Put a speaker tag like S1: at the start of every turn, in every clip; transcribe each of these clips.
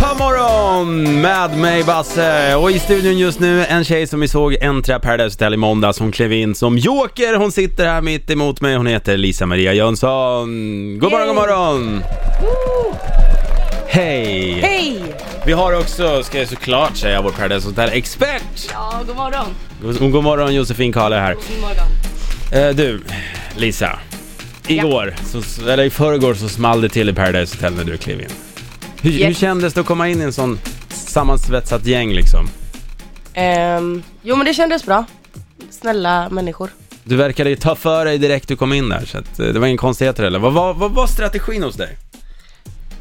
S1: God morgon med mig Basse och i studion just nu en tjej som vi såg äntra Paradise Hotel i måndags. Hon klev in som joker. Hon sitter här mitt emot mig. Hon heter Lisa Maria Jönsson. God morgon, god
S2: Yay.
S1: morgon! Hej!
S2: Hej!
S1: Vi har också, ska jag såklart säga, vår Paradise Hotel-expert!
S2: Ja, god morgon.
S1: God, god morgon Josefin Kalle här.
S2: God morgon.
S1: Eh, du, Lisa. Igår, så, eller i förrgår så small det till i Paradise Hotel när du klev in. Hur, hur
S2: Yes.
S1: kändes det att komma in i en sån sammansvetsat gäng liksom?
S2: Ehm, jo men det kändes bra. Snälla människor.
S1: Du verkade ju ta för dig direkt du kom in där, så att, eh, det var ingen konstigheter eller? Vad var, vad var strategin hos dig?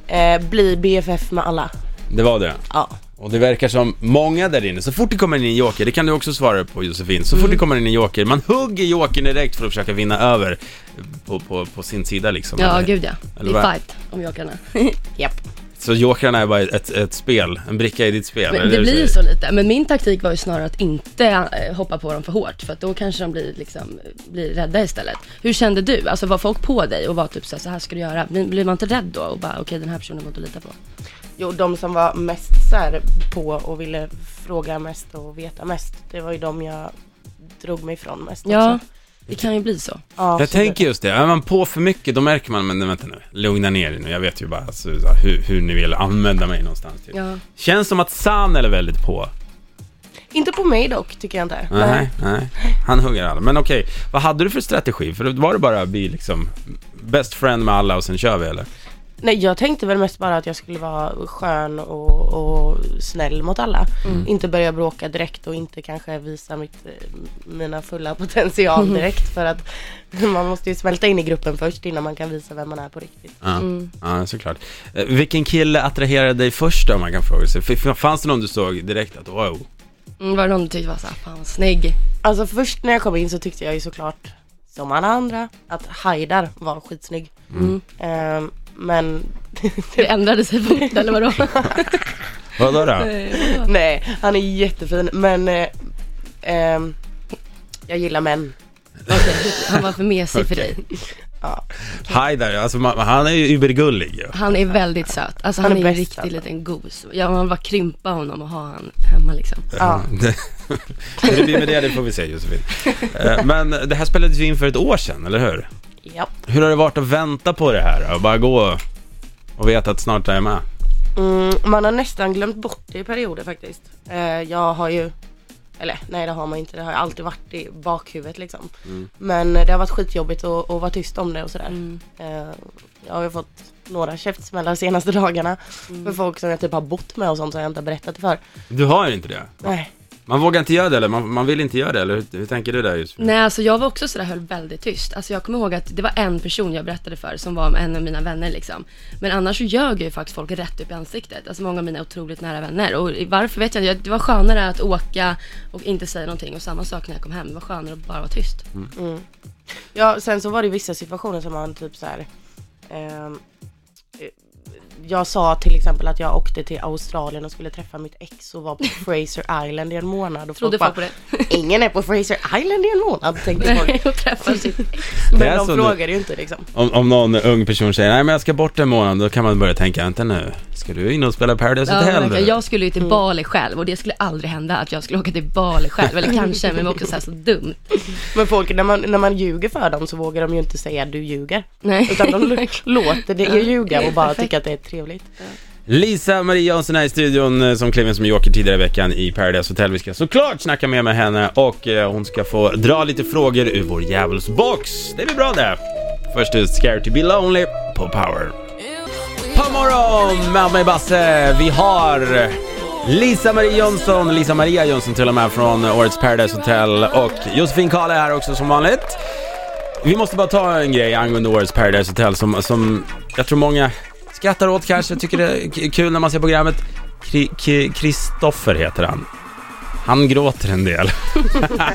S2: Eh, bli BFF med alla.
S1: Det var det.
S2: Ja.
S1: Och det verkar som många där inne, så fort det kommer in en joker, det kan du också svara på Josefin, så fort
S3: Mm.
S1: det kommer in en joker, man hugger jokern direkt för att försöka vinna över på, på, på sin sida liksom.
S3: Ja,
S1: eller?
S3: gud ja.
S1: eller
S3: det
S1: vad?
S3: är fight om jokarna.
S2: Japp.
S1: Så jokrarna är bara ett, ett spel, en bricka i ditt spel?
S3: Men
S1: eller
S3: det
S1: du
S3: blir ju
S1: säger?
S3: så lite. Men min taktik var ju snarare att inte eh, hoppa på dem för hårt för att då kanske de blir, liksom, blir rädda istället. Hur kände du? Alltså var folk på dig och var typ så här, så här ska du göra? Blir, blir man inte rädd då och bara okej den här personen går inte att lita på?
S2: Jo, de som var mest så här på och ville fråga mest och veta mest. Det var ju de jag drog mig ifrån mest
S3: Ja,
S2: också.
S3: det kan ju bli så.
S2: Ja,
S1: Jag
S2: så det-
S1: tänker just det, är man på för mycket då märker man, men nej, vänta nu, lugna ner er nu, jag vet ju bara alltså, så här, hur, hur ni vill använda mig någonstans. Typ.
S3: Ja.
S1: Känns som att Sanel är väldigt på.
S2: Inte på mig dock, tycker jag inte.
S1: Nej, nej. Han hugger alla. Men okej, vad hade du för strategi? För var det bara att bli liksom best friend med alla och sen kör vi eller?
S2: Nej, jag tänkte väl mest bara att jag skulle vara skön och, och snäll mot alla. Inte börja bråka direkt och inte kanske visa mitt, eh, mina fulla potential direkt. för att man måste ju smälta in i gruppen först innan man kan visa vem man är på riktigt.
S1: Ja,
S3: Mm.
S1: ja såklart. Eh, Vilken kille attraherade dig först då, om man kan fråga sig? F- f- Fanns det någon du såg direkt att wow?
S3: Mm, var det någon du tyckte var så här, fan vad snygg?
S2: Alltså först när jag kom in så tyckte jag ju såklart, som alla andra, att Haidar var skitsnygg.
S1: Mm.
S3: Mm.
S2: Ehm, men
S3: Det ändrade sig fort eller vadå? Eh,
S1: Vadå då?
S2: nej, han är jättefin. Men eh, ehm, jag gillar män.
S3: Okej, han var för mesig för dig.
S1: Hi där, alltså man, han är ju übergullig ju.
S3: Han är väldigt söt. Alltså han,
S2: Han är
S3: är en
S2: bäst,
S3: riktig
S2: alltså.
S3: liten gos. Ja, man bara krympa honom och ha han hemma liksom.
S2: Ja.
S1: Det- Hur det blir med det, det får vi se Josefin. Eh, Men det här spelades ju in för ett år sedan, eller hur?
S2: Japp.
S1: Hur har det varit att vänta på det här? då? Bara gå och veta att snart är jag med.
S2: Mm, man har nästan glömt bort det i perioder faktiskt. Eh, jag har ju, eller nej det har man inte, det har ju alltid varit i bakhuvudet liksom. Men eh, det har varit skitjobbigt att, att vara tyst om det och sådär.
S3: Mm.
S2: Eh, jag har ju fått några käftsmällar de senaste dagarna.
S3: Mm.
S2: För folk som jag typ har bott med och sånt som jag inte har berättat för.
S1: Du har ju inte det.
S2: Nej.
S1: Man vågar inte göra det eller man, man vill inte göra det eller hur, hur tänker du där just nu?
S3: Nej, alltså jag var också sådär, höll väldigt tyst. Alltså jag kommer ihåg att det var en person jag berättade för som var en av mina vänner liksom. Men annars så ljög ju faktiskt folk rätt upp i ansiktet. Alltså många av mina otroligt nära vänner. Och varför vet jag inte. Det var skönare att åka och inte säga någonting. Och samma sak när jag kom hem. Det var skönare att bara vara tyst.
S2: Ja, sen så var det vissa situationer som man typ så här. ehm, eh, jag sa till exempel att jag åkte till Australien och skulle träffa mitt ex och var på Fraser Island i en månad. Och
S3: Trodde
S2: bara,
S3: folk på det?
S2: Ingen är på Fraser Island i en månad tänkte folk.
S3: och träffa sitt
S1: Det är
S2: Men de
S1: så nu.
S2: frågar ju inte liksom.
S1: Om, om någon ung person säger nej men jag ska bort en månad, då kan man börja tänka vänta nu, ska du in och spela Paradise
S3: Ja,
S1: Hotel?
S3: verkligen.
S1: du?"
S3: jag skulle ju till Bali själv och det skulle aldrig hända att jag skulle åka till Bali själv. Eller kanske, men det var också så, här så dumt.
S2: Men folk, när man, när man ljuger för dem så vågar de ju inte säga du ljuger.
S3: Nej.
S2: Utan de l- låter det ju ljuga och bara
S3: Perfekt.
S2: tycka att det är trevligt.
S1: Lisa Marie Jansson är i studion eh, som klev in som joker tidigare i veckan i Paradise Hotel. Vi ska såklart snacka mer med henne och eh, hon ska få dra lite frågor ur vår djävulsbox. Det blir bra det. Först ut Scared to be lonely på Power. På morgon med mig Basse. Vi har Lisa Marie Jönsson, Lisa Maria Jönsson till och med från årets Paradise Hotel och Josefin Kahle är här också som vanligt. Vi måste bara ta en grej angående årets Paradise Hotel som, som jag tror många skrattar åt kanske, tycker det är k- kul när man ser programmet. Kri- Ki- Kristoffer heter han. Han gråter en del.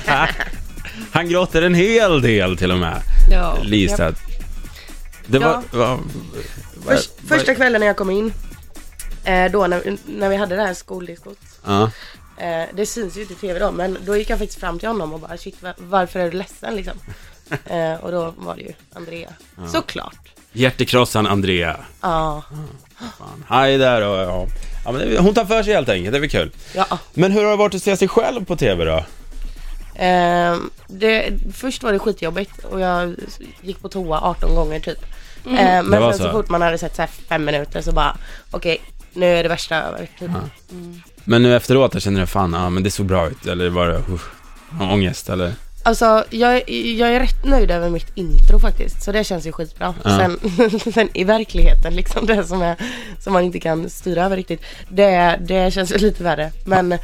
S1: han gråter en hel del till och med.
S3: Ja.
S1: Lisa. Det var...
S2: Ja.
S1: var, var
S2: Först, första kvällen när jag kom in, eh, då när, när vi hade det här skoldiskot.
S1: Ja.
S2: Eh, det syns ju inte i tv då, men då gick jag faktiskt fram till honom och bara shit va- varför är du ledsen liksom? Eh, och då var det ju Andrea. Såklart.
S1: Hjärtekrossaren Andrea.
S2: Ja.
S1: Fan. Hej där och ja. Ja, men det, hon tar för sig helt enkelt, det är väl kul.
S2: Ja.
S1: Men hur har det varit att se sig själv på TV då?
S2: Ehm, det, först var det skitjobbigt och jag gick på toa 18 gånger typ. Ehm,
S1: Det
S2: men
S1: var
S2: sen så.
S1: så.
S2: fort man hade sett så här fem minuter så bara okej, nu är det värsta över. Typ.
S1: Mm. Men nu efteråt, jag känner jag fan, ja men det såg bra ut, eller var det uff, ångest eller?
S2: Alltså jag, jag är rätt nöjd över mitt intro faktiskt. Så det känns ju skitbra.
S1: Ja.
S2: Sen, sen i verkligheten liksom det som, är, som man inte kan styra över riktigt. Det, det känns ju lite värre. Men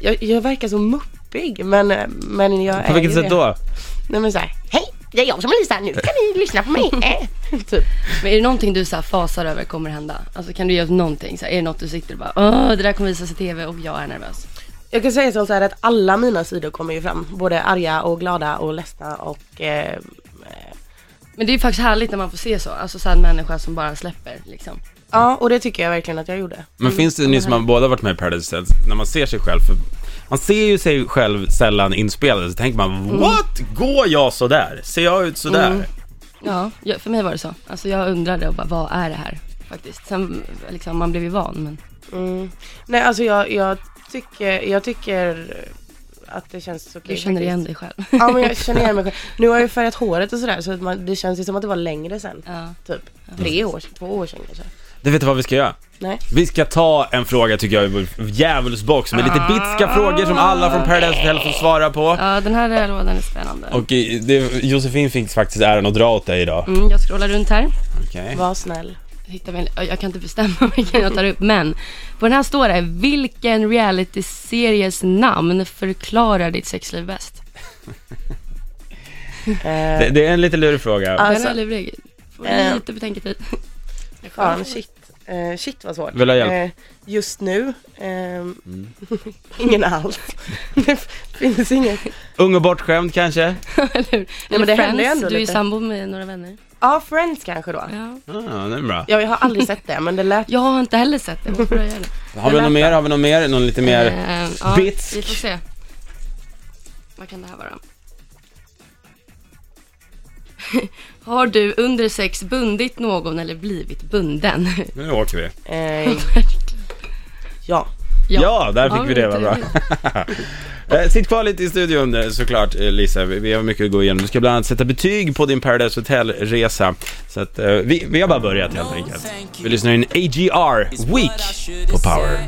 S2: jag, jag verkar så muppig. Men, men jag är
S1: På vilket
S2: ju
S1: sätt
S2: det.
S1: då?
S2: Nej men såhär, hej det är jag som är Lisa, nu kan ni lyssna på mig. Eh, typ.
S3: Men är det någonting du så här fasar över kommer hända? Alltså kan du göra någonting? Så här, är det något du sitter och bara åh det där kommer visas i TV och jag är nervös.
S2: Jag kan säga som så här att alla mina sidor kommer ju fram. Både arga och glada och ledsna och eh,
S3: Men det är ju faktiskt härligt när man får se så. Alltså så här, en människa som bara släpper liksom.
S2: ja och det tycker jag verkligen att jag gjorde.
S1: Men finns det, ni som har båda varit med i Paradise Hotel, när man ser sig själv, för man ser ju sig själv sällan inspelad, så tänker man what? Går jag sådär? Ser jag ut sådär?
S3: Ja, jag- för mig var det så. Alltså jag undrade och bara vad är det här? Faktiskt. Sen liksom man blev ju van men.
S2: Mm. Nej alltså jag, jag, tycker, jag tycker att det känns okej.
S3: Du känner
S2: faktiskt.
S3: igen dig själv.
S2: Ja men jag känner igen mig själv. Nu har jag ju färgat håret och sådär så att man, det känns ju som att det var längre sen.
S3: Ja.
S2: Typ tre år, två år sedan kanske.
S1: Du vet vad vi ska göra?
S2: Nej.
S1: Vi ska ta en fråga tycker jag i vår djävulsbox med lite bitska frågor som alla från Paradise Hotel får svara på.
S3: Ja, den här eh, lådan är spännande.
S1: Och eh, det, Josefin fick faktiskt äran att dra åt dig idag.
S3: Mm, jag scrollar runt här.
S1: Okej.
S2: Var snäll.
S3: Hittar mig, jag kan inte bestämma vilken jag tar upp, men på den här står det Vilken realityseries namn förklarar ditt sexliv bäst?
S2: Eh,
S1: Det, det är en lite lurig fråga.
S2: Alltså-
S3: den är lurig. Får
S2: Eh.
S3: lite betänketid.
S2: Fan, shit. Eh, shit vad svårt.
S1: Vill du ha hjälp?
S2: Eh, just nu, ehm,
S1: Mm.
S2: ingen alls. det finns inget.
S1: Ung och bortskämd kanske?
S3: Eller hur?
S2: men
S3: Eller
S2: det händer ju
S3: Friends,
S2: ändå
S3: du är ju
S2: lite.
S3: sambo med några vänner.
S2: Ja, Friends kanske då.
S3: Ja.
S1: Ja, Ah, det är bra.
S2: Ja, jag har aldrig sett det, men det lät...
S3: Jag har inte heller sett det, varför har jag det?
S1: Har vi något mer? Har vi något mer? Någon lite mer?
S3: Eh, ja,
S1: bitsk.
S3: Vi får se. Vad kan det här vara? Har du under sex bundit någon eller blivit bunden?
S1: Nu åker vi.
S2: Eh, ja.
S1: Ja, där fick
S3: Ja,
S1: vi det, vad bra.
S3: det-
S1: Eh, Sitt kvar lite i studion eh, såklart eh, Lisa, vi vi har mycket att gå igenom. Du ska bland annat sätta betyg på din Paradise Hotel-resa. Så att eh, vi, vi har bara börjat helt enkelt. Vi lyssnar in AGR Week på Power.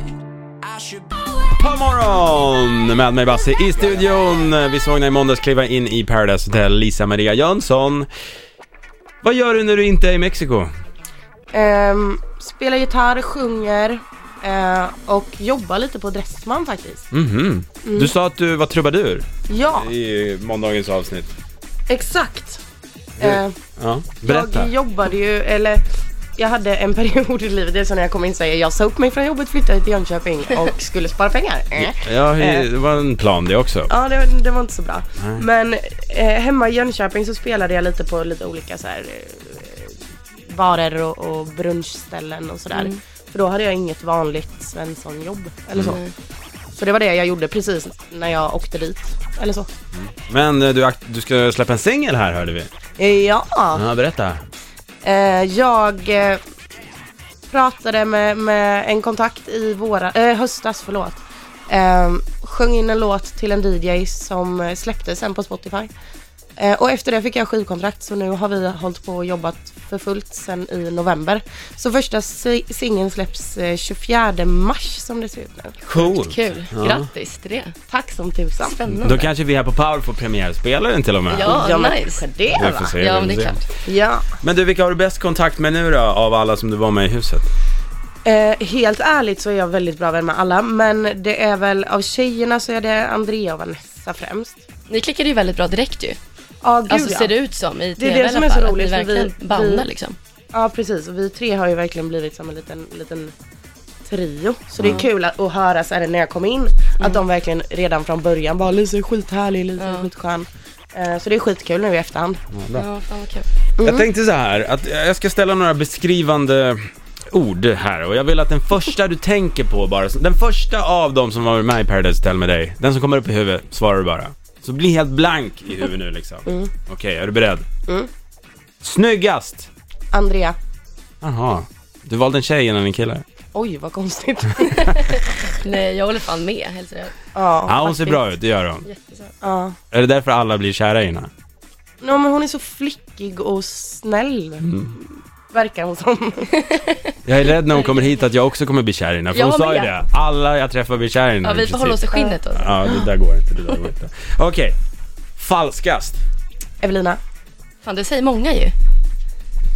S1: God morgon med mig Basse i studion. Vi såg henne i måndags kliva in i Paradise Hotel, Lisa Maria Jönsson. Vad gör du när du inte är i Mexiko?
S2: Ehm, spelar gitarr, sjunger eh, och jobbar lite på Dressman faktiskt.
S1: Mhm. Du sa att du var trubadur
S2: Ja,
S1: i måndagens avsnitt.
S2: exakt. Eh,
S1: Ja, berätta.
S2: Jag jobbade ju, eller jag hade en period i livet, det är så när jag kom in säger jag sa upp mig från jobbet, flyttade till Jönköping och skulle spara pengar. Eh.
S1: Ja, det var en plan det också.
S2: Ja, det, det var inte så bra. Men eh, hemma i Jönköping så spelade jag lite på lite olika så här, eh, barer och, och brunchställen och sådär. För då hade jag inget vanligt Svensson-jobb eller så. Så det var det jag gjorde precis när jag åkte dit. Eller så.
S1: Men eh, du, akt- du ska släppa en singel här hörde vi.
S2: Ja,
S1: Ja, berätta.
S2: Eh, jag eh, pratade med, med en kontakt i våra, eh, höstas, förlåt. Eh, sjöng in en låt till en DJ som eh, släpptes sen på Spotify. Eh, och efter det fick jag skivkontrakt så nu har vi hållit på och jobbat för fullt sen i november. Så första si- singeln släpps eh, 24 mars som det ser ut nu.
S1: Coolt.
S3: Kul, grattis till det.
S2: Tack som tusan.
S1: Då
S3: Spännande.
S1: kanske vi här på Power får premiärspelaren till och med.
S3: Ja,
S2: men
S3: nice.
S2: kanske det
S1: Vi
S2: va?
S1: får se,
S3: Ja,
S1: vi
S3: men
S1: får
S3: det är
S1: se.
S3: klart.
S2: Ja.
S1: Men du, vilka har du bäst kontakt med nu då, av alla som du var med i huset?
S2: Eh, helt ärligt så är jag väldigt bra vän med alla men det är väl av tjejerna så är det Andrea och Vanessa främst.
S3: Ni klickade ju väldigt bra direkt ju.
S2: Ja gud
S3: Alltså
S2: ja.
S3: ser det ut som i
S2: Det är
S3: TV
S2: det som
S3: i
S2: är
S3: alla
S2: så
S3: fall. att
S2: roligt,
S3: ni
S2: för vi-
S3: verkligen bandar
S2: vi-
S3: liksom.
S2: Ja precis och vi tre har ju verkligen blivit som en liten, liten trio. Så det är kul att, att höra så här när jag kom in att de verkligen redan från början bara Lisa är skithärlig, Lisa är
S3: Ja.
S2: skitskön. Eh, så det är skitkul nu i efterhand.
S3: Ja, fan vad kul.
S1: Jag tänkte så här, att jag ska ställa några beskrivande ord här och jag vill att den första du tänker på bara, den första av dem som var med i Paradise Hotel med dig, den som kommer upp i huvudet, svarar du bara. Så bli helt blank i huvudet nu liksom. Okej, är du beredd?
S2: Mm.
S1: Snyggast!
S2: Andrea,
S1: Jaha, du valde en tjej innan en kille?
S2: oj Oj, vad konstigt.
S3: Nej, jag håller fan med. Hälsar jag.
S2: ja.
S1: Ja, hon ser
S3: faktiskt.
S1: bra ut, det gör hon.
S3: Jättesöt.
S2: ja.
S1: Är det därför alla blir kära i henne?
S2: No, men hon är så flickig och snäll.
S3: Mm.
S2: Verkar hon som.
S1: Jag är rädd när hon kommer hit att jag också kommer bli kär i henne, för
S3: Jag
S1: hon sa ju
S3: med.
S1: det. Alla jag träffar blir kär i henne.
S3: Ja, vi
S1: precis.
S3: behåller oss i skinnet då.
S1: Ja, det där går inte, det där går inte. Okej, falskast.
S2: Evelina?
S3: Fan, det säger många ju.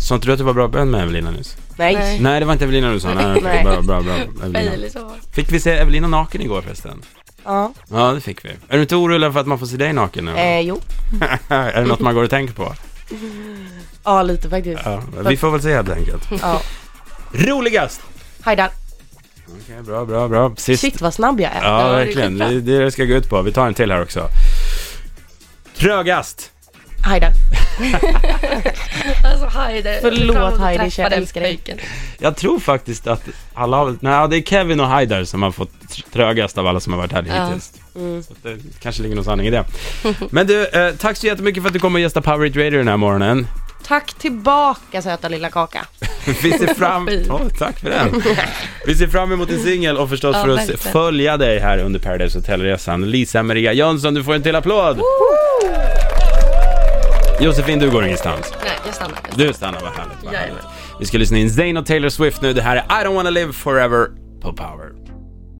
S1: Sa inte du att du var bra på bön med Evelina nyss?
S2: Nej.
S3: Nej.
S1: Nej, det var inte Evelina du sa. Nej, okej,
S2: Nej.
S1: bra, bra, bra. Evelina.
S3: Fail, så.
S1: Fick vi se Evelina naken igår förresten?
S2: Ja.
S1: Ja, det fick vi. Är du inte orolig för att man får se dig naken nu?
S2: Eh, jo.
S1: är det något man går och tänker på?
S2: Ja, lite faktiskt.
S1: Ja, vi får väl se helt enkelt.
S2: Ja.
S1: Roligast!
S2: Hajdar.
S1: Okej, bra, bra, bra. Sist.
S2: Shit vad snabb jag är.
S1: Ja,
S3: Ja, det är
S1: verkligen. Det
S3: skitbra.
S1: är det det ska gå ut på. Vi tar en till här också. Trögast!
S2: Hajdar.
S3: Alltså Heidi.
S2: Förlåt,
S3: Fram och
S2: Heidi,
S3: träffa
S2: jag
S3: den
S2: älskar dig.
S3: pojken.
S1: Jag tror faktiskt att alla har, nej, det är Kevin och Haidar som har fått tr- trögast av alla som har varit här
S3: Ja. Mm.
S1: hittills. Så att det kanske ligger någon sanning i det. Men du, eh, tack så jättemycket för att du kom och gästade Power Hit Radio den här morgonen.
S2: Tack tillbaka söta lilla kaka.
S1: Vi ser fram...
S3: Fint.
S1: Åh, tack för den. Vi ser fram emot din singel och förstås
S3: Ja,
S1: för att
S3: verkligen.
S1: följa dig här under Paradise Hotel-resan. Lisa Maria Jönsson, du får en till applåd! Josefin, du går ingenstans.
S3: Nej, jag stannar. Jag stannar.
S1: Du stannar, vad härligt, vad
S3: Jajamän.
S1: härligt. Vi ska lyssna in Zayn och Taylor Swift nu. Det här är I don't wanna live forever på Power.